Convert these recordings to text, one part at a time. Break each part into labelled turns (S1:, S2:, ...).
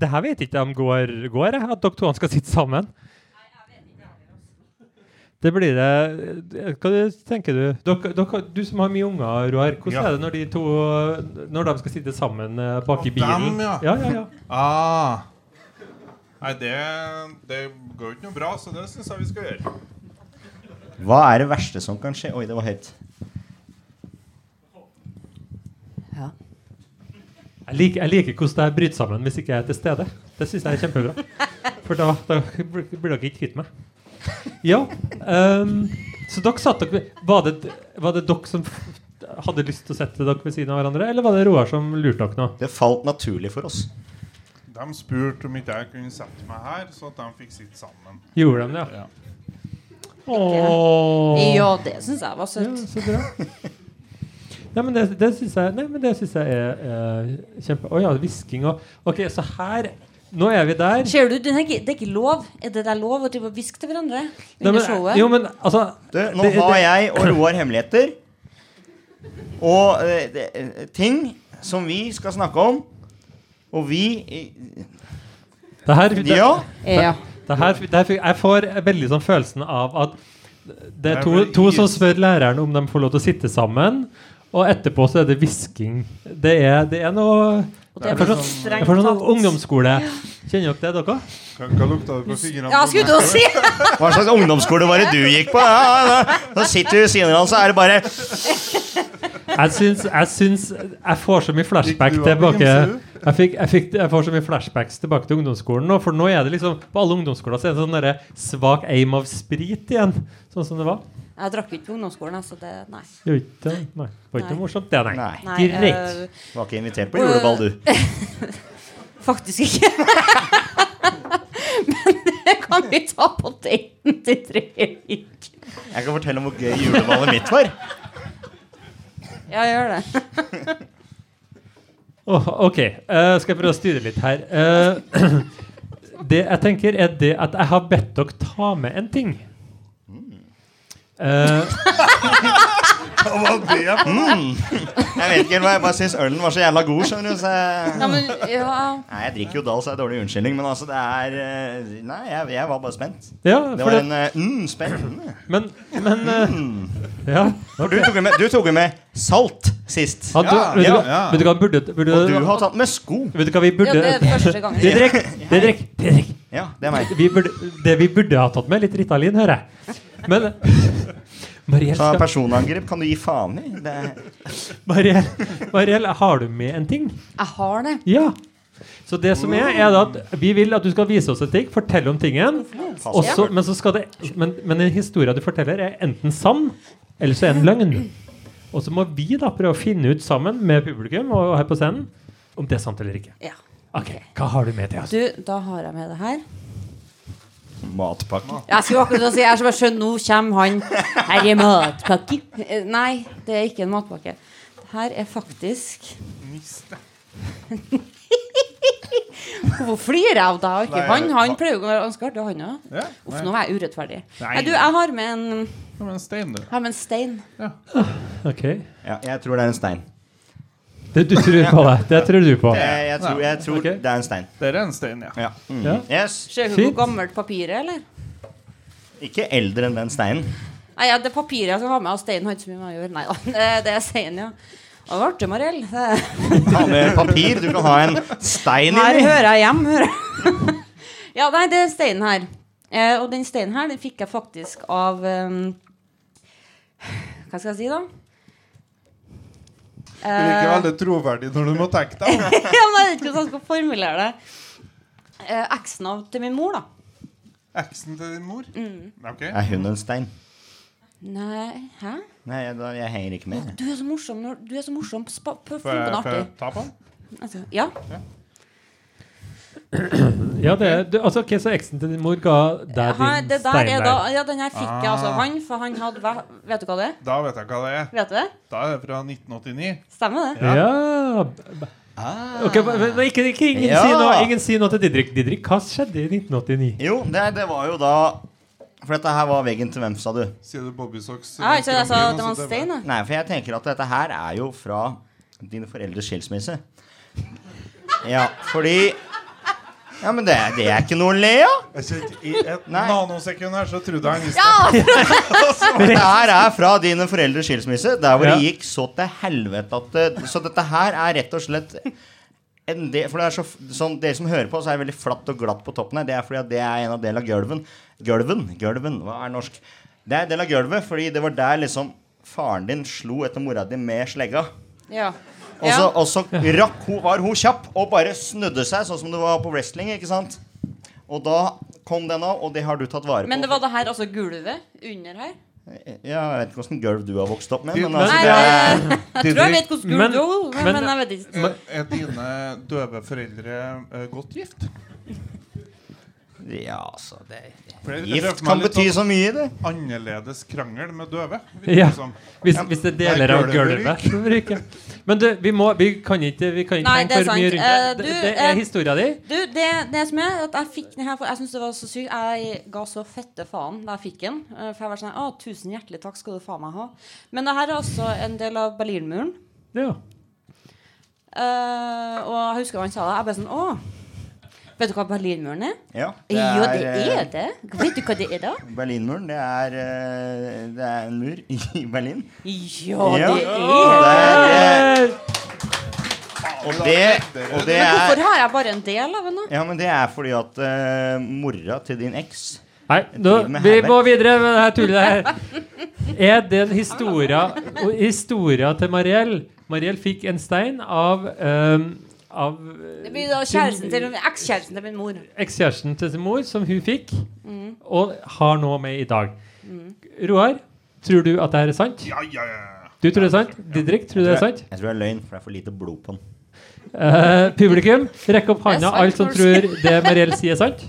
S1: det her vet ikke de går, går jeg, at dere to skal sitte sammen. Det blir det Hva du- tenker du? Dere, dere, du som har mye unger, Roar. Hvordan
S2: Ja.
S1: er det når de to Når de skal sitte sammen eh, bak i
S2: Og
S1: bilen?
S2: dem, ja.
S1: Ja, ja, ja.
S2: Ah. Nei, det, det går jo ikke noe bra, så det syns jeg vi skal gjøre.
S3: Hva er det verste som kan skje? Oi, det var høyt.
S4: Ja.
S1: Jeg, lik, jeg liker hvordan det her bryter sammen hvis ikke jeg er til stede. Det syns jeg er kjempebra. For da, da blir blir dere ikke kvitt meg. Ja. ehm, så dere satt dere ved- var det, var det dere som f- hadde lyst til å sette dere ved siden av hverandre, eller var det Roar som lurte dere nå?
S3: Det falt naturlig for oss.
S2: De spurte om ikke jeg kunne sette meg her, så at de fikk sitte sammen.
S1: Gjorde de det?
S2: Ja.
S1: Åh.
S4: ja, det syns jeg
S1: Ja,
S4: var søtt.
S1: så bra. Nei, men det, det syns jeg, nei, men det synes jeg er, er kjempe... Å ja, hvisking og Ok, så her Nå er vi der.
S4: Ser du, det er ikke, det er ikke lov. Er det der lov å drive og hviske til
S1: Nei,
S4: hverandre under
S1: men,
S4: showet?
S1: jo, men altså
S3: Du, nå
S1: det- det-
S3: har jeg og Roar hemmeligheter. Og eh, det- eh, ting som vi skal snakke om. Og vi eh,
S1: det her, det,
S3: Ja.
S4: ja.
S1: det her, det her, fikk- jeg får veldig sånn følelsen av at det er
S2: Jeg
S1: to,
S2: blir
S1: to som
S2: is.
S1: spør læreren om de får lov til å sitte sammen, og etterpå så er det hvisking. Det, er- det er noe
S4: Og
S1: Jeg
S4: det
S2: er
S1: får
S4: var
S2: sånn-
S1: sånn,
S4: strengt
S1: jeg får sånn
S4: tatt.
S1: ungdomsskole. Kjenner dere det, dere?
S2: Hva, hva lukta det på fingrene?
S4: Ja,
S2: på
S4: skulle
S2: meg?
S4: du også si!
S3: Hva slags ungdomsskole var det du gikk på? Ja, ja, ja. Så sitter du ved siden av, så er det bare
S1: Jeg syns, jeg syns Jeg får så mye flashback
S2: Gikk du av
S1: tilbake
S2: med gymsue?
S1: jeg, fikk, jeg, fikk, jeg får så mye flashbacks tilbake til ungdomsskolen nå, for nå er det liksom På alle ungdomsskoler så er det sånn derre svak aim av sprit igjen, sånn som det var.
S4: Jeg drakk ikke på ungdomsskolen, jeg, så det Nei.
S1: Gjorde ikke det? Nei. Det var ikke
S4: Nei.
S1: noe morsomt, det, nei.
S3: Nei.
S4: nei
S1: Greit.
S4: eh,
S3: Var ikke invitert på juleball, du.
S4: faktisk ikke. men det kan vi ta på daten til Trevik.
S3: Jeg kan fortelle om hvor gøy juleballet mitt var.
S4: Ja, gjør det.
S1: Åh, ok, Eh, skal jeg prøve å styre litt her. Eh, det jeg tenker, er det at jeg har bedt dere ta med en ting. Eh,
S2: Hva var det for noe?
S3: Mm. Jeg vet ikke helt hva jeg bare syns ølen var så jævla god, skjønner du. Så jeg...
S4: Ja, men ja.
S3: Nei, jeg drikker jo Dal, så det er dårlig unnskyldning, men altså, det er eh, Nei, jeg, jeg var bare spent.
S1: ja, for
S3: Det var
S1: det,
S3: en eh, mm, spennende.
S1: men, men eh, Ja.
S3: For du tok jo med, du tok jo med salt sist.
S1: Ja, du,
S2: Ja,
S1: vet, du,
S2: ja,
S1: hva-
S2: ja.
S1: vet du hva burde, burde
S3: Og du har tatt med sko.
S1: Vet du hva vi
S4: ja,
S1: burde
S4: det er første gangen.
S1: Didrik, Didrik, Didrik.
S3: Ja, det er meg.
S1: Vi burde, Det vi burde ha tatt med, litt Ritalin, hører jeg. Men Mariell,
S3: Så
S1: skal,
S3: personangrep kan du gi faen i. Det er,
S1: Mariell, Mariell, har du med en ting?
S4: Jeg har det.
S1: Ja. Så det som er, er da at vi vil at du skal vise oss en ting, fortelle om tingen. og så- men, så skal det, men, men den historien du forteller, er enten sann, eller så er den løgn. Og så må vi da prøve å finne ut sammen med publikum og her på scenen om det er sant eller ikke.
S4: Ja.
S1: Ok, Hva har du med til oss?
S4: Du, da har jeg med det her.
S3: matpakke.
S4: Jeg skulle akkurat til å si Jeg skal bare skjønne, nå kommer han Her er matpakke Eh, Nei, det er ikke en matpakke Det her er faktisk
S2: Niste.
S4: Hvorfor flirer jeg av deg? og Ikke
S2: Nei,
S4: han, han
S2: hva-
S4: pleier jo å være ganske artig, han også
S2: Ja,
S4: Uff,
S2: nei.
S4: nå er jeg urettferdig
S2: Nei.
S4: Nei, du, jeg har med en,
S2: Ja, men stein, du.
S4: jeg har med en stein
S1: Ok
S3: Ja, jeg tror det er en stein.
S1: Det du tror på det. Det tror du på.
S3: Eh, Jeg, jeg tror, jeg tror
S1: Ok.
S3: det er en stein.
S2: Det er en stein, ja.
S3: Ja. Mm.
S1: Ja.
S3: Yes.
S4: Ser du hvor
S1: Fint.
S4: gammelt papiret, er, eller?
S3: Ikke eldre enn den steinen.
S4: Nei, ja, det papiret jeg skal ha med av steinen har ikke så mye med å gjøre Nei, da, det- det er stein, ja Å, det var artig, Mariell Det-
S3: Ta med papir. Du kan ha en stein
S4: Her
S3: inni.
S4: hører jeg hjem. Hører. jeg. ja, nei, det er steinen her. Eh, og den steinen her den fikk jeg faktisk av eh, Hva skal jeg si, da?
S2: Du
S4: Eh,
S2: er ikke veldig troverdig når du må tenke deg om.
S4: ja, men jeg vet ikke hvordan jeg skal formulere det. Eh, Eksen av til min mor, da.
S2: Eksen til din mor?
S4: Mm.
S2: Ok.
S3: Er hun en stein?
S4: Nei, hæ?
S3: Nei, jeg, da- jeg henger ikke med.
S4: Du er så morsom. når- Du er så morsom. Spa, prøv å
S2: Får
S4: finne på
S2: jeg,
S4: noe
S2: får jeg
S4: artig.
S2: ta på den?
S4: Altså, ja.
S1: Ja, det er, du, altså, ok, Så eksen til din mor ga deg
S4: Her,
S1: din
S4: det der er
S1: stein
S4: da,
S1: der?
S4: ja, den her fikk jeg altså
S2: Ah.
S4: av han, for han hadde væ- Vet du hva det er?
S2: Da vet jeg hva det er.
S4: Vet du det?
S2: Da er det fra 1989.
S4: Stemmer det?
S1: Ja Ok, men, men ikke, ikke, ingen,
S3: Ja.
S1: si noe, ingen si noe til Didrik. Didrik, hva skjedde i 1989?
S3: Jo, det, det var jo da For dette her var veggen til hvem, sa du?
S2: Sier du Bobby Socks?
S4: Ja, ikke, jeg sa at det var en
S2: så
S4: stein, da.
S3: Nei, for jeg tenker at dette her er jo fra dine foreldres skilsmisse. Ja, fordi Ja, men det er, det er ikke noe å le av.
S2: Jeg kjente, I et
S3: Nei.
S2: nanosekund her så trodde jeg han visste
S4: Ja!
S3: Dette Altså, her er fra dine foreldres skilsmisse, der hvor det
S1: Ja.
S3: gikk så til helvete at det, Så dette her er rett og slett en del, for det er så, f- sånn, Dere som hører på, så er det veldig flatt og glatt på toppen her. Det er fordi at det er en av del av gulven. Gulven, gulven, hva er norsk? Det er en del av gulvet, fordi det var der liksom faren din slo etter mora di med slegga.
S4: Ja.
S3: Og så,
S4: Ja.
S3: og så rakk hun, var hun kjapp og bare snudde seg, sånn som det var på wrestling. ikke sant? Og da kom den av, og det har du tatt vare på.
S4: Men det var det her, altså gulvet under her?
S3: Ja, jeg vet ikke hvordan gulv du har vokst opp med.
S2: Du-
S3: Men
S2: Nei,
S3: altså,
S4: Nei,
S3: det er,
S4: jeg tror jeg vet hvordan
S1: Men-
S4: gulv det var, men,
S1: men-
S4: jeg vet ikke.
S2: Er, Eh, er dine døve foreldre eh, godt gift?
S3: ja, altså, det,
S2: For det- det treffer
S3: Gift
S2: meg
S3: kan
S2: litt
S3: bety
S2: sånn
S3: så mye, det.
S2: Annerledes krangel med døve. virker
S1: Ja.
S2: det som.
S1: Hvis, hvis det
S2: Nei,
S1: deler av
S2: gulvet
S1: gulvet så ryker. Men du, vi, må, vi kan ikke, vi kan ikke
S4: Nei, det
S1: henge
S4: er
S1: for mye
S4: sant.
S1: rundt det.
S4: Eh,
S1: Det,
S4: du,
S1: det
S4: eh,
S1: er historia di.
S4: Du, det, det som er at Jeg fikk den her for Jeg synes det var så sykt. Jeg ga så fette faen da jeg fikk den. eh, For jeg var sånn Å, tusen hjertelig takk skal du faen meg ha. Men det her er også en del av Berlinmuren.
S1: Ja.
S4: Eh, og jeg husker han sa det. Jeg bare sånn Å, vet du hva Berlinmuren er?
S3: Ja,
S4: jo, det
S3: eh,
S4: er det. Vet du hva det er, da?
S3: Berlinmuren, det er, eh, det er en mur i Berlin.
S4: Ja,
S3: Ja.
S4: det er det.
S1: Eh,
S3: Og det, og det er
S4: Hvorfor har jeg bare en del av den? da?
S3: Ja, men det er fordi at eh, mora til din eks
S1: Nei, nå,
S3: driver med
S1: vi
S3: hærverk.
S1: må videre med det her tullet her. Er den historia, og historia til Mariell Mariell fikk en stein av, ehm, av
S3: Eh,
S4: Det blir da kjæresten til ekskjæresten til min mor.
S1: ekskjæresten til sin mor, som hun fikk, og har nå med i dag. Roar, tror du at det her er sant?
S2: Ja, ja, ja.
S1: Du tror det er sant? Didrik, tror du det er sant?
S3: Jeg tror det er løgn, for det er for lite blod på den.
S1: Eh, publikum, rekk opp handa,
S4: Det er sant,
S1: alt som
S4: når du
S1: tror det Mariell sier, er sant.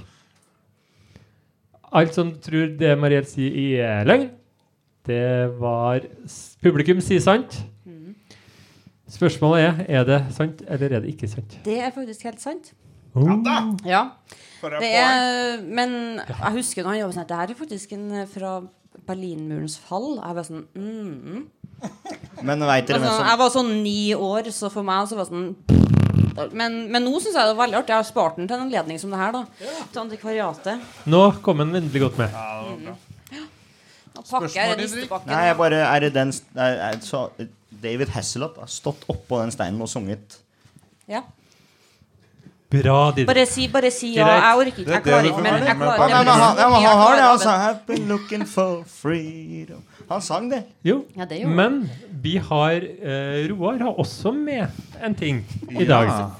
S1: Alt som tror det Mariell sier, er løgn. Det var s- Publikum sier sant. Spørsmålet er er det sant eller er det ikke sant.
S4: Det er faktisk helt sant.
S2: Da,
S4: Ja.
S2: får jeg poeng.
S4: Det er, men jeg husker da han jobbet sånn at det her er faktisk en eh, fra Berlinmurens fall. Jeg var sånn mm, mm.
S3: Men veit dere
S4: Altså,
S3: hvem som
S4: Jeg var sånn ni år, så for meg så var det sånn men, men nå syns jeg det er veldig artig. Jeg har spart den til en anledning som det her. da Til antikvariatet.
S1: Nå kom han endelig godt med.
S2: Ja, det var bra.
S4: Og pakker
S2: Spørsmål, Didrik?
S4: listepakken.
S3: Nei, jeg bare er det den st- er, er, så, David Hasselhoff har stått oppå den steinen og sunget.
S4: Ja.
S1: Bra, Didrik.
S4: Bare si, bare si ja.
S1: Greit.
S4: Jeg orker ikke. Jeg
S2: Det er det
S4: klarer
S2: du
S4: ikke
S2: får
S4: mer.
S2: være
S4: Jeg
S2: med på.
S4: klarer
S3: Nei,
S4: ikke
S3: men han,
S4: mer.
S3: ja, men han har det,
S4: Jeg
S3: altså.
S4: klarer det.
S3: I've been looking for freedom Han sang det.
S1: Jo.
S4: Ja, det gjorde han.
S1: Men vi har eh, Roar har også med en ting i
S2: Ja.
S1: dag.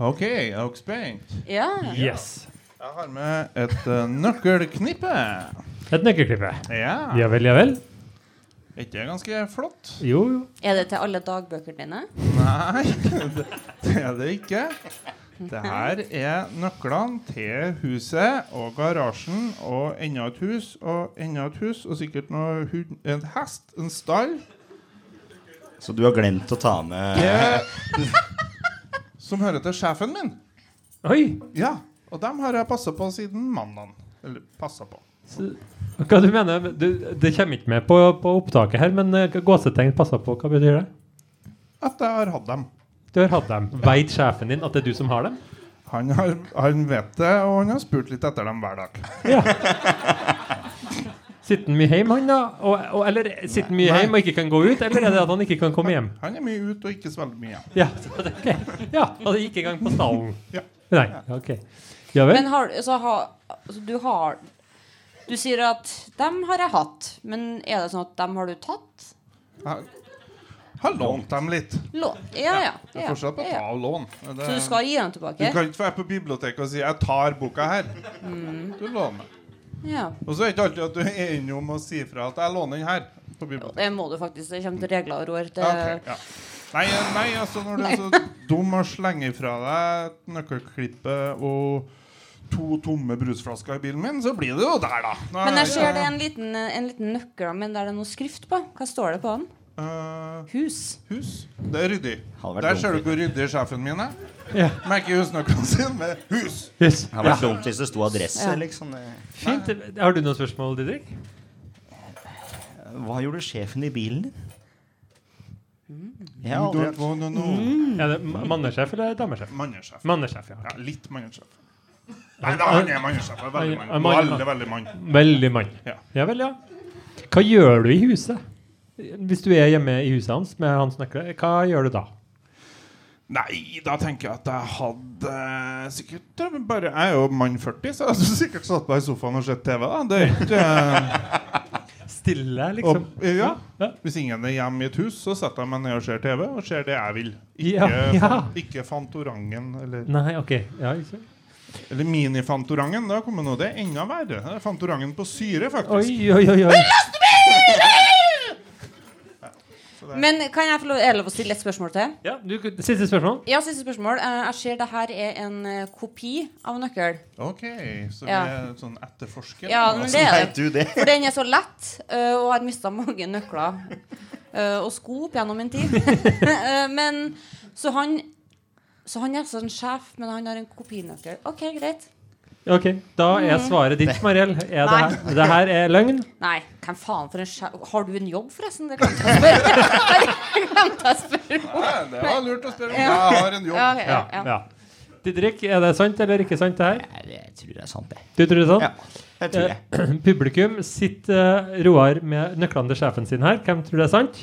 S2: OK, Oxbank.
S4: Ja.
S1: Yes.
S2: Jeg har med et eh, nøkkelknippe.
S1: Et nøkkelklippe.
S2: Ja.
S1: Ja vel, ja vel.
S2: Er ikke det ganske flott?
S1: Jo, jo.
S4: Er det til alle dagbøkene dine?
S2: Nei, det, det er det ikke. Det her er nøklene til huset og garasjen og enda et hus og enda et hus og sikkert noe hund, en hest, en stall,
S3: Så du har glemt å ta med
S2: eh, som hører til sjefen min.
S1: Oi!
S2: Ja, og dem har jeg passa på siden mandag. Eller passa på.
S1: Hva du mener du? Det kommer ikke med på, på opptaket her, men eh, gåsetegn passer på. Hva betyr det?
S2: At jeg har hatt dem.
S1: Du har hatt dem. Veit sjefen din at det er du som har dem?
S2: Han, har, han vet det, og han har spurt litt etter dem hver dag.
S1: Sitter han mye hjemme, han da? Og, og, eller sitter han mye
S2: Nei.
S1: hjemme og ikke kan gå ut? Eller er det at han ikke kan komme hjem?
S2: Han er mye ute og ikke så veldig mye hjemme.
S1: Ja, så det, ok. ja og det gikk en gang på stallen.
S2: Ja.
S1: Nei, ok. Ja vel?
S4: Men har, så har, altså, du har Du sier at dem har jeg hatt, men er det sånn at dem har du tatt?
S2: Jeg har lånt dem litt.
S4: Lå, ja, ja,
S2: Jeg
S4: ja,
S2: er fortsatt på å ta
S4: ja.
S2: lån. Det-
S4: Så du skal gi dem
S2: Du
S4: tilbake?
S2: kan ikke være på biblioteket og si 'jeg tar boka her'.
S4: Mm.
S2: Du låner.
S4: Ja.
S2: Og så er det ikke alltid at du er enig om å si fra at 'jeg låner den her' på biblioteket.
S4: Det må du faktisk. Det kommer til regler og råd. Det,
S2: Ja, ok, ja. Nei, nei, altså når du er så dum og slenger fra deg et nøkkelklippe og to tomme brusflasker i bilen min, så blir det jo der, da. Nå er
S4: Men jeg
S2: det-
S4: ser det er en liten, en liten nøkkel, men der det er noe skrift på. Hva står det på den?
S2: Eh,
S4: Hus.
S2: hus. Det er ryddig.
S3: Hadde vært
S2: Der
S3: dumt
S2: ser du hvor ryddig sjefen min er.
S1: Ja.
S2: Merker husnøkkelen sin med 'hus'.
S1: Yes.
S3: Det hadde vært dumt hvis det sto adresse,
S4: Ja.
S3: liksom. Det-
S1: Fint. Har du noen spørsmål, Didrik?
S3: Hva gjorde sjefen i bilen din? Jeg
S2: You
S3: har aldri
S2: don't
S3: hatt
S4: Mm.
S2: wanna know.
S1: Er det ma- mannesjef eller damesjef?
S2: Mannesjef.
S1: Mannesjef, ja.
S2: Ja, litt mannesjef. Nei, da, han er mannsjef. er Veldig
S1: Han er
S2: mann.
S1: mann, ja.
S2: Veldig, veldig mann.
S1: Veldig mann.
S2: Ja.
S1: Ja vel, ja. Hva gjør du i huset? Hvis du er hjemme i huset hans med hans nøkler, hva gjør du da?
S2: Nei, da tenker jeg at jeg hadde eh, sikkert eh, bare Jeg er jo mann 40, så jeg hadde sikkert satt meg i sofaen og sett TV. da Det er ikke eh,
S1: Stille,
S2: og,
S1: liksom?
S2: ja.
S1: Ja.
S2: Hvis ingen er hjemme i et hus, så setter jeg meg ned og ser TV og ser det jeg vil. Ikke,
S1: Ja, ja.
S2: ikke Fantorangen eller
S1: Nei, OK. Ja, ikke sant.
S2: Eller Minifantorangen. Da kommer nå det er enda verre. Det er Fantorangen på syre, faktisk.
S1: Oi, oi, oi. oi.
S4: Men kan jeg få lov, er det lov å stille et spørsmål til?
S1: Ja, du, siste spørsmål.
S4: Ja, siste spørsmål. Eh, Jeg ser det her er en eh, kopi av nøkkel.
S2: Ok, så vi
S4: Ja.
S2: er sånn etterforsker.
S4: Ja, men det er
S3: Vet
S4: det.
S3: du det?
S4: For den er så lett, eh, og jeg har mista mange nøkler eh, og sko opp gjennom en tid. Eh, men så han Så han er altså en sjef, men han har en kopinøkkel. OK, greit.
S1: OK, da er svaret ditt, Mariell. Er det her, det her er løgn?
S4: Nei, hvem faen for en sjef Har du en jobb, forresten? Det glemte jeg å spørre. Det glemte jeg å spørre om.
S2: Ja, sånn det var lurt å spørre om. Jeg har en jobb.
S4: Ja, ok, ja, ja.
S1: ja. Didrik, er det sant eller ikke sant, det her?
S3: Nei, det tror jeg er sant, det.
S1: Du tror det er sant?
S3: Ja, det tror jeg.
S1: Eh, Publikum sitter eh, Roar med nøklene til sjefen sin her. Hvem tror det er sant?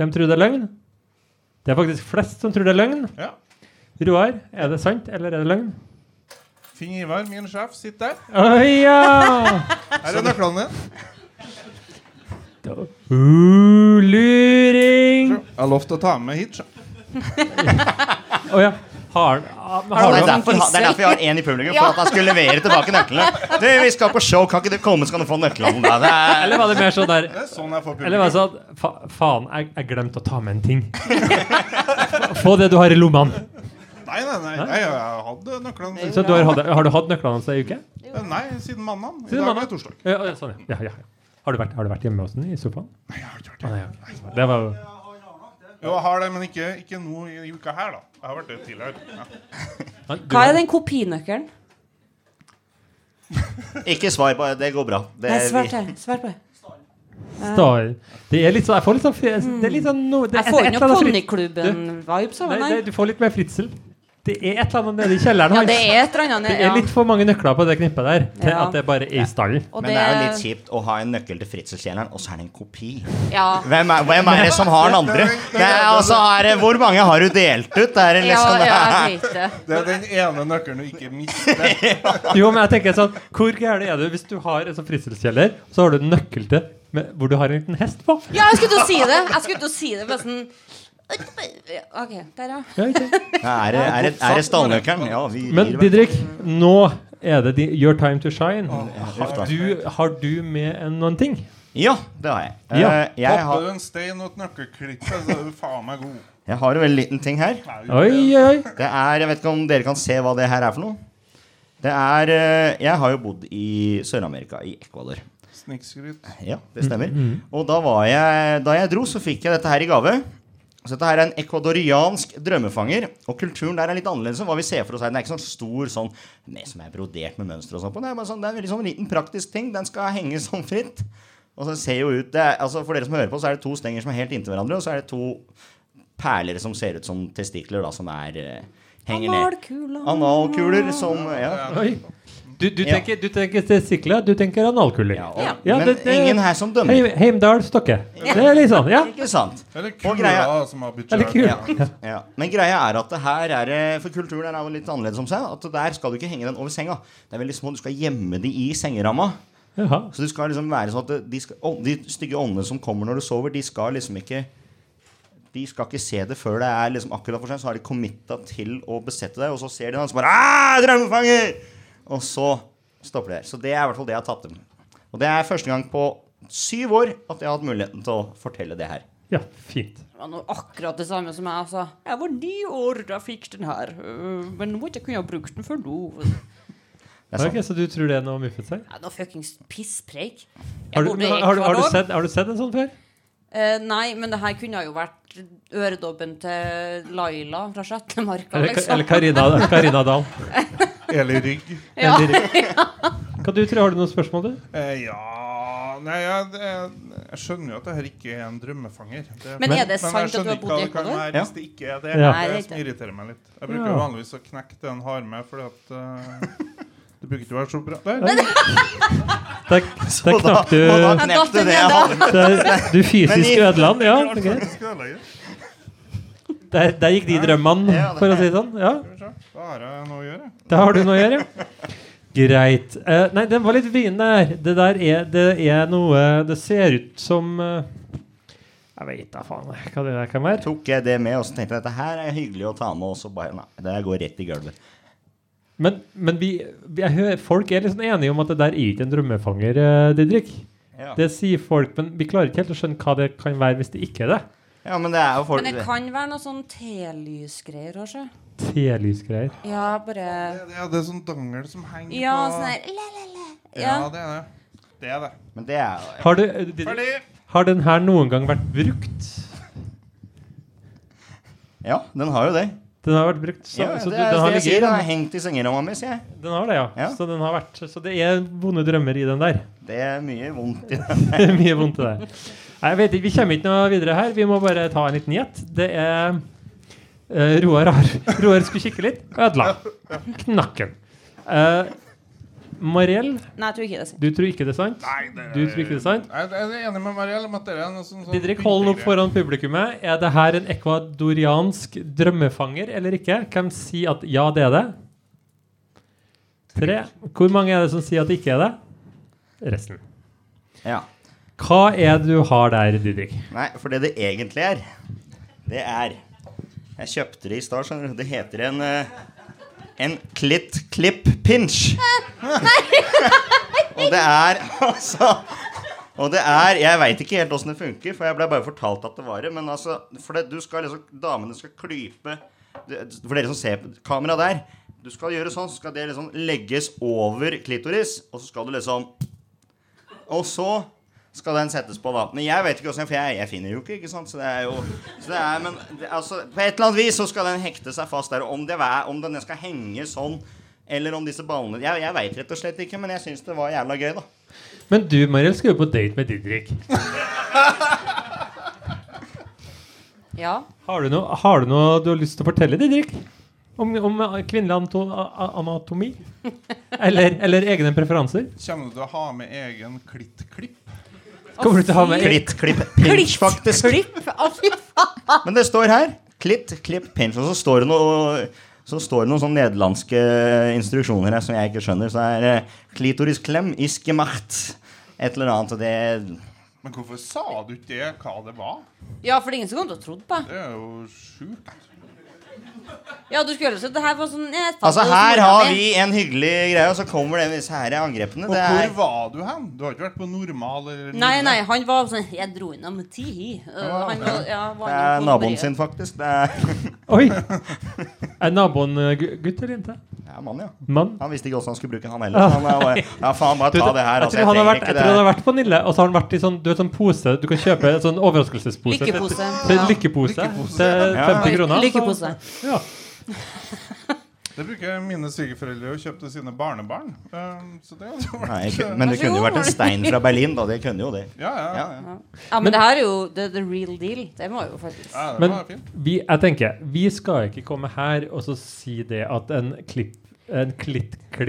S1: Hvem tror det er løgn? Det er faktisk flest som tror det er løgn.
S2: Ja.
S1: Roar, er det sant eller er det løgn?
S2: Finn Ivar, min sjef, sitt der.
S1: Å ja!
S2: Her er nøklene dine.
S1: Uh, luring!
S2: Jeg har lovt å ta med hit. sjef.
S1: Å ja. Har, ah, men
S3: Det
S1: har
S3: er,
S1: du
S3: derfor, det er derfor jeg har én i publikum, for
S4: Ja.
S3: at han skulle levere tilbake nøklene. Du, vi skal på show, kan ikke du komme, så kan du få nøklene. Da. Det er,
S1: Eller var det mer sånn der
S2: Det er sånn jeg får
S1: Eller var det
S2: publikum.
S1: sånn at, fa, Faen, jeg, jeg glemte å ta med en ting. Få- Få det du har i lommene.
S2: Nei, nei, nei, nei, jeg hadde nøklene.
S1: Så du har, hatt- har du hatt nøklene hans ei uke?
S2: siden- Nei, siden mandag. I
S1: Siden
S2: dag
S1: mandag.
S2: er torsdag.
S1: Ja, ja, sånn, ja. ja, ja, ja. Har, du vært, har du vært hjemme hos den i sofaen?
S2: Nei, jeg har
S1: Ah,
S2: ikke gjort det.
S1: nei, ok. Det var jo
S2: Jo, jeg har det, men ikke, ikke nå i i uka her, da. Jeg har vært det tidligere. Ja.
S1: Han- du-
S4: Hva er den kopinøkkelen?
S3: Ikke svar på det, det går bra. Det,
S4: Nei,
S3: er-
S4: svar til. Svar på det.
S1: Star. Det er litt sånn Jeg får litt sånn fri- Det er litt sånn no, det,
S4: Mm. Jeg får
S1: et
S4: jo
S1: eller annet fritt-
S4: Ponniklubben-vibes av
S1: Nei,
S4: den
S1: det,
S4: her.
S1: du får litt mer fritsel. Det er et eller annet nede i kjelleren
S4: Ja,
S1: hans.
S4: det er et eller annet.
S1: Det er
S4: Ja.
S1: litt for mange nøkler på det knippet der til
S4: Ja.
S1: at det bare er i stallen.
S4: Og
S3: Men det er jo litt kjipt å ha en nøkkel til fritselskjelleren, og så er det en kopi.
S4: Ja.
S3: Hvem er, hvem er det som har den andre? Det er, altså, er det, hvor mange har du delt ut? Det er det
S4: Ja,
S3: liksom,
S4: ja, jeg vet det.
S2: Det er den ene nøkkelen du ikke mister.
S1: Jo, men jeg tenker sånn Hvor gæren er du hvis du har en sånn fritselskjeller, så har du en nøkkel til med, hvor du har en liten hest på?
S4: Ja, jeg skulle til å si det. Jeg skulle til å si det bare sånn OK, der, ja.
S1: Ja, ikke sant?
S3: er det, er det, er det stallnøkkelen? Ja, vi
S1: Men
S3: gir vel-
S1: Didrik, nå er det di- your time to shine.
S3: Huff da.
S1: Du, har du med en, noen ting?
S3: Ja, det har jeg.
S1: Ja.
S3: Eh, jeg,
S2: Popper
S3: har,
S2: du en stein og et nøkkelklippe, så er du faen meg god.
S3: jeg har en veldig liten ting her.
S2: Nei,
S1: Oi, oi, oi.
S3: Det er, Jeg vet ikke om dere kan se hva det her er for noe. Det er eh, Jeg har jo bodd i Sør-Amerika, i Ecuador.
S2: Snikskryt.
S3: Ja,
S1: Mm.
S3: det stemmer. Og da, var jeg, da jeg dro, så fikk jeg dette her i gave. Så dette her er en ekvadoriansk drømmefanger. Og kulturen der er litt annerledes enn hva vi ser for oss her. Den er ikke sånn stor sånn med, som er brodert med mønstre og sånn på. Det er bare sånn, det er en veldig sånn liten praktisk ting. Den skal henge sånn fritt. Og så ser jo ut det er, altså For dere som hører på, så er det to stenger som er helt inntil hverandre, og så er det to perler som ser ut som testikler, da, som er eh, henger ned.
S4: Analkula.
S3: Analkuler som Ja.
S1: oi. Du, du,
S3: Ja.
S1: tenker, du tenker testikler, du tenker analkuler.
S3: ja,
S4: Ja.
S3: og,
S1: Ja,
S3: men
S1: det- det-
S3: ingen her som dømmer.
S1: Heim, Heimdal Stokke. Det er litt sånn, ja.
S3: Ikke sant?
S2: Eller
S3: Og greia-
S2: kula som har blitt
S1: Eller
S2: kjørt.
S1: kul.
S3: Ja. Ja. Men greia er at det her er det- For kulturen her er jo litt annerledes om seg. At der skal du ikke henge den over senga. Det er veldig små, Du skal gjemme de i sengeramma.
S1: Jaha.
S3: Så det skal liksom være sånn at det- de, skal, å, de stygge åndene som kommer når du sover, de skal liksom ikke De skal ikke se det før det er liksom akkurat for seg. Så har de committa til å besette deg, og så ser de den, og så bare «Ah, Drømmefanger! Og så stopper det her. Så det er i hvert fall det jeg har tatt dem. Og det er første gang på syv år at jeg har hatt muligheten til å fortelle det her.
S1: Ja, fint.
S4: Det var noe akkurat det samme som jeg sa. Jeg var ni år da jeg fikk den her, øh, men nå må jeg kunne ha brukt den før nå.
S3: Det er sant.
S1: Ok, så du tror det er noe muffet seg?
S4: Ja, noe fuckings pisspreik. Jeg
S1: Har du,
S4: bodde i
S1: men har, du- har, du
S4: Ecuador.
S1: sett, har du sett en sånn før?
S4: Eh, nei, men det her kunne jo vært øredobben til Laila fra Sjetlemarka,
S1: Eller, Ka-
S4: liksom.
S1: eller Karina, Karina Dahl?
S2: Eller rygg.
S4: Ja.
S1: Eller, hva du tror, har du noen spørsmål, du?
S2: Eh, ja nei, jeg, jeg, jeg skjønner jo at det her ikke er en drømmefanger. Det,
S4: Men er det
S2: jeg
S4: sant at du
S2: skjønner
S4: har
S2: ikke
S4: bodd i
S2: hva det kan
S4: Ecuador?
S2: være
S3: Ja.
S2: Hvis det ikke er det.
S1: Ja.
S2: Det
S4: Nei,
S2: er
S4: det
S2: det
S4: er
S2: som irriterer meg litt. Jeg bruker
S1: Ja.
S2: vanligvis å knekke det en har med, fordi at eh, Det bruker ikke å være så bra. Der.
S1: Der, der knakk du
S3: Og da
S1: der,
S3: knepte det jeg hadde.
S1: Du fysisk
S3: Men i-
S1: ødela den, ja.
S2: Jeg klarte
S1: ok.
S2: faktisk å ødelegge.
S1: Der, der gikk de drømmene,
S3: Ja, det-
S1: for å si det sånn. Ja,
S2: Skal vi se. Da har jeg noe å gjøre. jeg.
S1: Det har du noe å gjøre. Greit. Eh, nei, den var litt vrien der. Det der er, det er noe Det ser ut som eh, Jeg veit da faen jeg, hva det der kan være.
S3: tok jeg det med og så tenkte jeg dette her er hyggelig å ta med. Og så bare nei, det her går rett i gulvet.
S1: Men, men vi, vi, jeg hører, folk er liksom enige om at det der er ikke en drømmefanger, eh, Didrik.
S3: Ja.
S1: Det sier folk, men vi klarer ikke helt å skjønne hva det kan være hvis det ikke er det.
S3: ja, men det er jo folk
S4: Men det kan være noe sånn telysgreier òg, sjø.
S1: Telysgreier.
S4: Ja, bare
S2: Det, det, er- det er sånn dangel som henger
S4: Ja,
S2: på
S4: sånn der la-la-la.
S2: ja,
S4: Ja.
S2: det er det. Det er det.
S3: Men det er jo
S1: Har, du, eh, Didrik,
S2: Ferdig!
S1: har den her noen gang vært brukt?
S3: Ja, den har jo det.
S1: Den har vært brukt, så,
S3: Ja,
S1: så du,
S3: det er
S1: den
S3: det
S1: har
S3: jeg sier.
S1: ligget
S3: Den
S1: i
S3: har hengt i sengeromma mi, sier jeg.
S1: den. Den har det, ja.
S3: Ja.
S1: Så, den har vært, så det er vonde drømmer i den der.
S3: Det er mye vondt i den.
S1: Det er mye vondt i det. Nei, jeg vet ikke, Vi kommer ikke noe videre her. Vi må bare ta en liten gjett. Det er eh, Roar har Roar skulle kikke litt. Ødela. Knakken. Uh, Mariell,
S4: Nei, jeg tror ikke det er sant.
S1: du tror ikke det er sant?
S2: Nei, det
S1: Du tror ikke det er sant?
S2: Jeg jeg er enig med Mariell om at det er noe sånn, sånn
S1: Didrik, hold den opp
S2: pyntegreie.
S1: foran publikummet. Er det her en ecuadoriansk drømmefanger eller ikke? Hvem sier at ja, det er det? Tre. Hvor mange er det som sier at det ikke er det? Resten.
S3: Ja.
S1: Hva er det du har der, Didrik?
S3: Nei, for det det egentlig er, det er Jeg kjøpte det i stad, skjønner du. Det heter en eh, en klitt klipp pinch. og det er altså Og det er Jeg veit ikke helt åssen det funker, for jeg ble bare fortalt at det var det. Men altså For det, du skal liksom Damene skal klype det- For dere som ser på kamera der Du skal gjøre sånn, så skal det liksom legges over klitoris, og så skal du liksom og så skal den settes på, da. Men jeg vet ikke hvordan, for jeg, jeg finner jo ikke, ikke sant. Så det er jo så det er, Men det, altså, på et eller annet vis så skal den hekte seg fast der. Og Om, det er, om den skal henge sånn, eller om disse ballene Jeg, jeg veit rett og slett ikke, men jeg syns det var jævla gøy, da.
S1: Men du, Mariel, skal jo på date med Didrik.
S4: Ja.
S1: Har du noe, har du, noe du har lyst til å fortelle, Didrik? Om, om kvinnelig anto, a, a, anatomi? Eller, eller egne preferanser?
S2: Kommer du til å ha med egen klitt-klipp?
S1: Kommer du til å ha med
S3: Klitt, klipp, pinch, faktisk.
S4: Klipp! Å, fy faen!
S3: Men det står her. Klitt, klipp, pinch. Og så står det noe så står det noen sånne nederlandske instruksjoner her som jeg ikke skjønner. Så er det klitorisklem iskemacht. Et eller annet. Og det
S2: Men hvorfor sa du ikke det, hva det var?
S4: Ja, for det er ingen som kom til å tro på det.
S2: Det er jo sjukt.
S4: Ja, du skulle jo sett det her var sånn jeg fant
S3: Altså
S4: det hos
S3: Her
S4: mora
S3: har
S4: mi.
S3: vi en hyggelig greie, og så kommer det disse her angrepene.
S2: Og
S3: Det
S2: hvor
S3: er,
S2: var du hen? Du har ikke vært på normal eller
S4: Nei, nei, han var sånn Jeg dro innom ti. Uh, han var, ja, var
S3: det
S4: innom
S3: er naboen
S4: kondomeriet.
S3: sin, faktisk. Det er,
S1: Oi! Er naboen eh, gu- gutt eller jente?
S3: det er mann, ja.
S1: Mann?
S3: Han visste ikke åssen han skulle bruke han heller. så Han er bare, ja, faen, bare
S1: Ah. Du,
S3: ta det her.
S1: jeg
S3: Altså,
S1: tror han har
S3: trenger
S1: vært,
S3: ikke
S1: jeg
S3: det
S1: tror han har
S3: her.
S1: vært på Nille, og så har han vært i sånn, du vet, sånn pose Du kan kjøpe en sånn overraskelsespose.
S4: Lykkepose.
S1: Til- til Lykkepose
S2: Lykkepose.
S1: til
S3: Ja.
S1: 50 kroner.
S4: Lykkepose.
S1: Så, ja.
S2: Det bruker mine svigerforeldre å kjøpe til sine barnebarn. Um, så det hadde jo vært
S3: Nei, ikke- men det kunne jo vært en stein fra Berlin, da. Det kunne jo det.
S2: Ja, ja. ja.
S3: Ja, ja.
S4: Ja, men, det her er jo the, the real deal. Det må jo faktisk
S2: det
S1: Men
S2: var fint.
S1: vi, jeg tenker, vi skal ikke komme her og så si det at en klipp en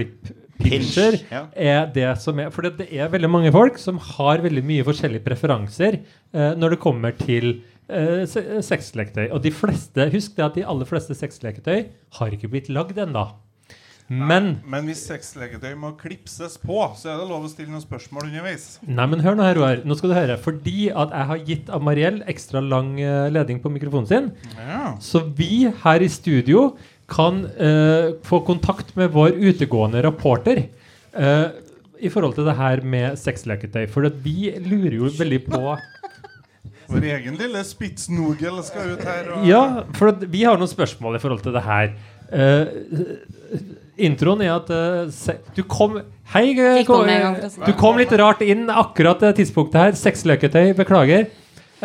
S1: klitt-klipp-pinsjer
S3: Pinch, ja.
S1: er det som er For det er veldig mange folk som har veldig mye forskjellige preferanser eh, når det kommer til eh, se- sexleketøy. Og de fleste, husk det at de aller fleste sexleketøy har ikke blitt lagd ennå. Men
S2: Men hvis sexleketøy må klipses på, så er det lov å stille noen spørsmål underveis.
S1: Nei, men hør nå her, Roar. Nå skal du høre. Fordi at jeg har gitt av Mariell ekstra lang eh, ledning på mikrofonen sin,
S2: Ja.
S1: Så vi her i studio kan eh, få kontakt med vår utegående rapporter eh, i forhold til det her med sexleketøy. For at vi lurer jo veldig på
S2: Vår egen lille spitsnogel skal ut her. Og...
S1: Ja, for at vi har noen spørsmål i forhold til det her. Eh, introen er at eh, se, Du kom Hei, eh,
S4: Fikk komme en gang for å si
S1: du kom litt rart inn akkurat det tidspunktet her. Sexleketøy, beklager.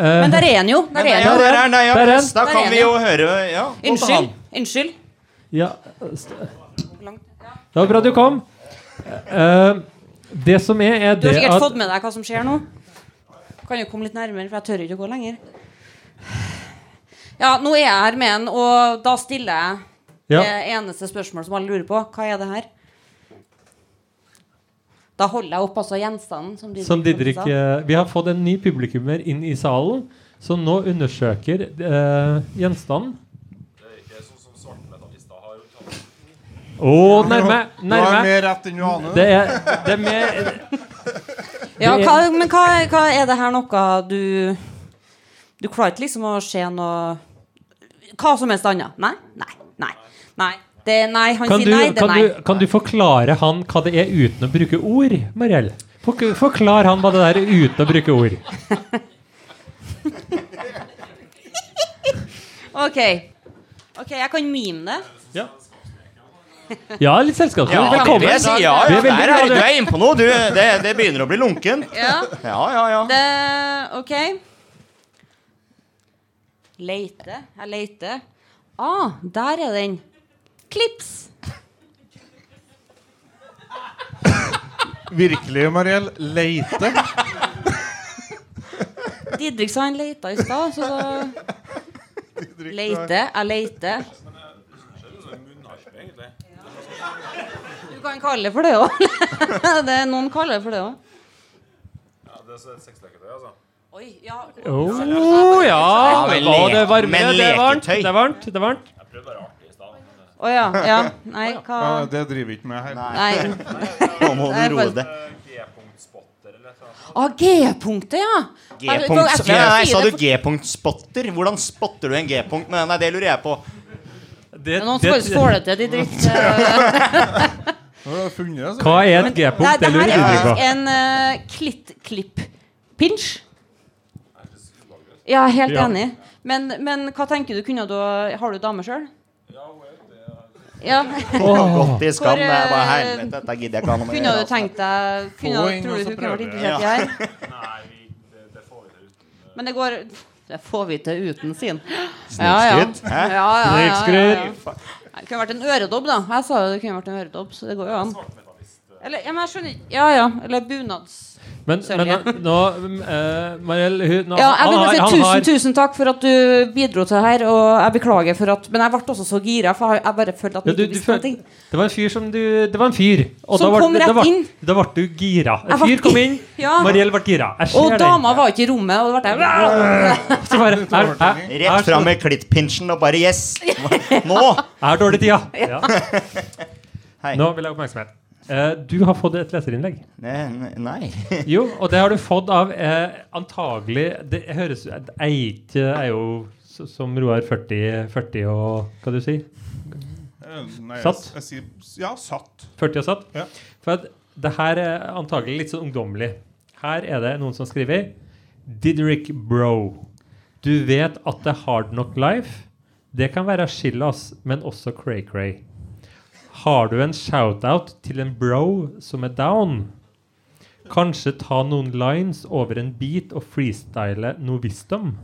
S1: Eh,
S4: Men der er han jo!
S3: Men
S4: Der
S3: det
S4: er
S3: er-
S4: han
S3: ja,
S4: jo.
S3: der er den, ja.
S1: Der er den.
S3: Da
S4: Der
S3: kan
S4: er
S3: vi
S4: den.
S3: jo høre ja.
S4: Unnskyld. Unnskyld.
S1: ja, st- Det var bra du kom. Eh, Det som er, er
S4: Du har
S1: det
S4: sikkert
S1: at
S4: fått med deg hva som skjer nå. Kan jo komme litt nærmere, for jeg tør ikke å gå lenger. Ja, nå er jeg her med en, og da stiller jeg
S1: ja,
S4: det eneste spørsmålet som alle lurer på. Hva er det her? Da holder jeg opp altså gjenstanden som Didrik,
S1: Som Didrik
S4: sa.
S1: eh, Vi har fått en ny publikummer inn i salen, som nå undersøker eh, gjenstanden. Å, nærme!
S2: Du har
S1: Nærme!
S2: mer rett enn Johanne.
S1: Det er, det er mer det
S4: Ja,
S1: er-
S4: hva, men hva, hva er det her noe du Du klarer ikke liksom å se noe Hva som helst annet? Nei? Nei. Nei. nei. Det, nei han
S1: Kan
S4: sier
S1: du,
S4: nei, det er
S1: kan,
S4: nei.
S1: du, kan du forklare han hva det er uten å bruke ord, Mariell? Fork forklar han hva det der er uten å bruke ord.
S4: Ok. Ok, jeg kan mime det.
S1: Ja, litt selskapsord.
S3: Ja, det vil
S1: Velkommen.
S3: jeg si. Ja,
S1: Vi
S3: ja,
S1: er veldig
S3: der er,
S1: glad i-
S3: du er inne på noe. Du, det, det begynner å bli lunken.
S4: Ja,
S3: Ja, ja, ja.
S4: det Ok. Leite. Jeg leiter. Ah, der er den. Klips.
S2: Virkelig, Mariell. Leite.
S4: Didrik sa han leita i stad, så da Leite. Jeg leiter. Du kan kalle det for det òg. Noen kaller det for det òg. Oi, ja.
S1: Å, ja. Å,
S3: men
S1: det er
S3: leke-
S1: varme.
S3: men
S1: Det er varmt.
S3: leketøy.
S1: Det er varmt. Det er varmt.
S4: Å ja. ja. Nei, hva
S2: Ja, det driver ikke med her.
S4: Nei.
S3: Nå må du
S4: Nei,
S3: roe
S4: bare-
S3: deg.
S4: Ah, G-punktet, ja! Jeg-
S3: G-punkt
S4: jeg- jeg-
S3: Nei, nei,
S4: jeg-
S3: Sa du
S4: jeg-
S3: G-punktspotter? Hvordan spotter du en G-punkt? Nei, nei, det lurer jeg på.
S1: Det,
S4: Noen
S1: det,
S4: får får det til, de dritt.
S2: Nå har du funnet altså. det, så.
S1: hva er et
S4: Nei,
S1: G-punkt?
S4: det
S1: Det
S4: her
S1: lurer
S4: er
S1: Didrik på.
S4: faktisk en uh, klitt-klipp-pinsj. Ja, helt
S1: Ja.
S4: enig. Men, men hva tenker du? Kunne du Har du dame sjøl? Ja,
S1: Åh.
S3: Godt i skam.
S4: Hvor,
S3: Det er bare
S4: eh,
S3: helvete, dette gidder jeg ikke ha noe
S4: kunne du
S3: med.
S4: tenkt deg kunne,
S2: Få inn,
S4: Tror
S2: og
S4: du
S2: så
S4: hun kunne vært
S2: prøver
S4: interessert i her? Men det går Det får vi til uten sin. Ja, ja.
S3: Snikskryt,
S4: Ja,
S3: hæ?
S4: ja, ja, ja, ja.
S1: Snikskryt.
S4: Det kunne vært en øredobb, da. Jeg sa jo det kunne vært en øredobb, så det går jo an. Eller, ja, men jeg skjønner ikke Ja, ja. Eller bunads...
S1: Men, men
S4: Sølje.
S1: han- nå eh, Mariell, hun nå,
S4: Ja, jeg
S1: han
S4: vil bare
S1: har-
S4: si
S1: han
S4: tusen,
S1: har-
S4: tusen takk for at du bidro til det her, og jeg beklager for at Men jeg ble også så gira, for jeg- jeg bare følte at
S1: Ja,
S4: jeg
S1: du,
S4: ikke
S1: du
S4: visste noe.
S1: føl-
S4: ting.
S1: det var en fyr som du Det var en fyr. Og
S4: Som
S1: da var-
S4: kom
S1: da
S4: rett
S1: var-
S4: inn.
S1: Da ble du gira. En
S4: Jeg var-
S1: fyr kom inn,
S4: Ja.
S1: Mariell ble gira. Jeg ser
S4: Og
S1: den.
S4: dama var ikke i rommet, og det ble jeg
S1: Så bare, er, er,
S3: altså. Rett fram med klittpinsjen og bare Yes! Nå!
S1: er dårlig tida. Ja.
S3: Hei.
S1: Nå vil jeg ha oppmerksomhet. Eh, du har fått et leserinnlegg.
S3: Ne- Nei.
S1: Jo, og det har du fått av eh, antagelig Det høres Jeg er ikke- jeg er jo s- som Roar 40, 40 og Hva du sier?
S2: Eh, Nei, jeg-
S1: Satt?
S2: Jeg, sier ja, satt.
S1: 40 og satt.
S2: Ja.
S1: For at det her er antagelig litt sånn ungdommelig. Her er det noen som skriver Didrik Bro. Du vet at det er hard knock life. Det kan være Shillas, men også cray-cray. Har du en shout-out til en bro som er down? Kanskje ta noen lines over en beat og freestyle noe visdom?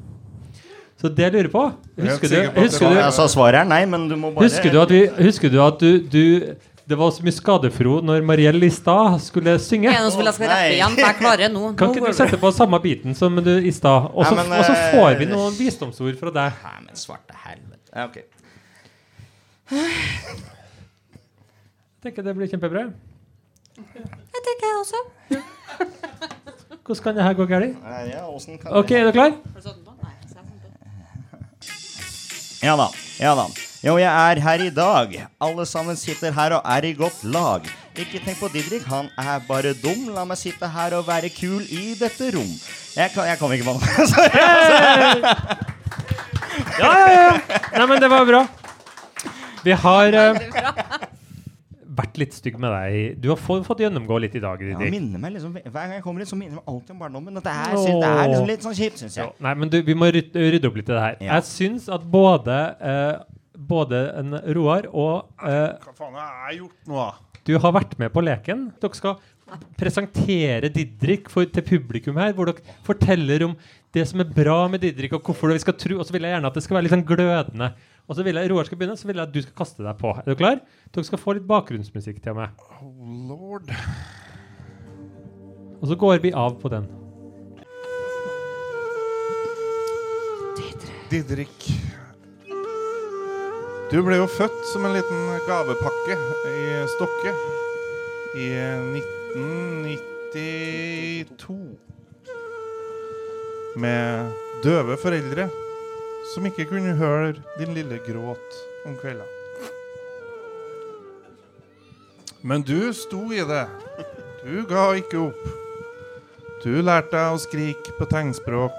S1: Så det jeg lurer på
S2: er
S1: Husker
S2: helt sikker
S1: du,
S2: på at det
S1: husker du
S2: var-
S3: Altså, svaret er nei, men du må bare
S1: Husker du at, vi, husker du, at du, du Det var så mye skadefro når Mariell i stad skulle synge.
S4: Er det noen som vil jeg skal rappe
S3: Nei.
S4: igjen? For jeg klarer det nå.
S1: Kan
S4: nå
S1: ikke du
S4: går det.
S1: sette på samme biten som du i stad? Og så-
S3: Nei, men,
S1: og så
S3: eh,
S1: får vi noen visdomsord fra deg.
S3: Nei, men svarte helvete. Ja, ok.
S1: Jeg tenker det blir kjempebra.
S4: Det tenker jeg også.
S1: Hvordan kan det her gå galt?
S3: Nei, Ja, åssen kan
S1: OK, er du klar?
S4: Har du satt den på? Nei, så jeg satt den på.
S3: Ja da, ja da. Jo, jeg er her i dag. Alle sammen sitter her og er i godt lag. Ikke tenk på Didrik, han er bare dum. La meg sitte her og være kul i dette rom. Jeg, kan, jeg kom ikke på noe. Sorry.
S1: Ja, ja, ja. Nei, men det var bra. Vi har eh, vært litt stygg med deg. Du har få- fått gjennomgå litt i dag.
S3: Ja,
S1: Didrik.
S3: minner meg liksom, hver gang jeg kommer hit, så minner det meg alltid om barndommen. At det er, synd- det er liksom litt sånn kjipt, syns
S1: Ja,
S3: jeg.
S1: nei, men du, vi må rydde, rydde opp litt i det her.
S3: Ja.
S1: Jeg syns at både, eh, både en Roar og eh,
S2: Hva faen har jeg gjort nå, da?
S1: du har vært med på leken. Dere skal presentere Didrik for, til publikum her, hvor dere forteller om det som er bra med Didrik, og hvorfor vi skal tro, og så vil jeg gjerne at det skal være litt sånn glødende. Og så vil jeg, Roar skal begynne, så vil jeg at du skal kaste deg på. Er du klar? Dere skal få litt bakgrunnsmusikk til meg.
S2: Oh, lord.
S1: Og så går vi av på den.
S2: Didrik. Du ble jo født som en liten gavepakke i Stokke i 1992. Med døve foreldre som ikke kunne høre din lille gråt om kvelden. Men du sto i det. Du ga ikke opp. Du lærte deg å skrike på tegnspråk.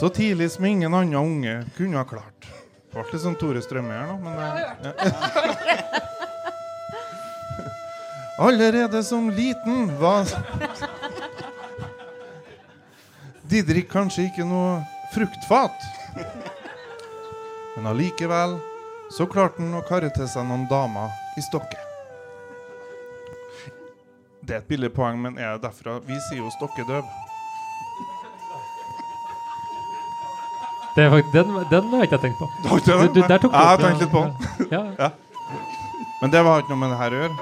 S2: Så tidlig som ingen annen unge kunne ha klart. Det ble litt sånn Tore Strømme her nå, men eh, det, ja. Allerede som liten var Didrik kanskje ikke noe fruktfat. Men allikevel så klarte han å karre til seg noen damer i Stokke. Det er et billig poeng, men er det derfra? Vi sier jo stokkedøv.
S1: Det er fakt den, den har jeg ikke tenkt på.
S2: Du har ikke
S1: Du,
S2: det?
S1: du, der tok du
S2: jeg har
S1: opp,
S2: tenkt litt på den.
S1: Ja, ja.
S2: Men det har ikke noe med det her å gjøre.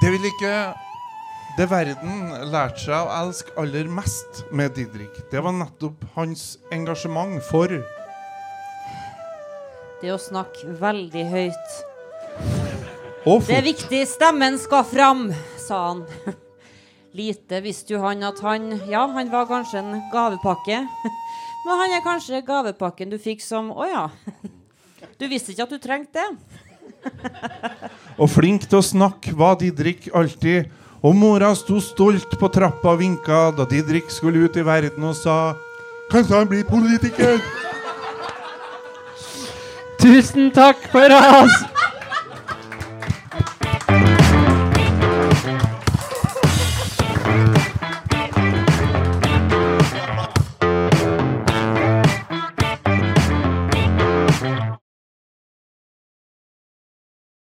S2: Det vil ikke det verden lærte seg å elske aller mest med Didrik, det var nettopp hans engasjement for
S4: Det å snakke veldig høyt.
S2: og
S4: Det er
S2: for
S4: viktig, stemmen skal fram, sa han. Lite visste jo han at han Ja, han var kanskje en gavepakke. Men han er kanskje gavepakken du fikk som Å ja. Du visste ikke at du trengte det.
S2: Og flink til å snakke var Didrik alltid. Og mora sto stolt på trappa og vinka da Didrik skulle ut i verden og sa Kanskje han blir politiker?
S1: Tusen takk for oss!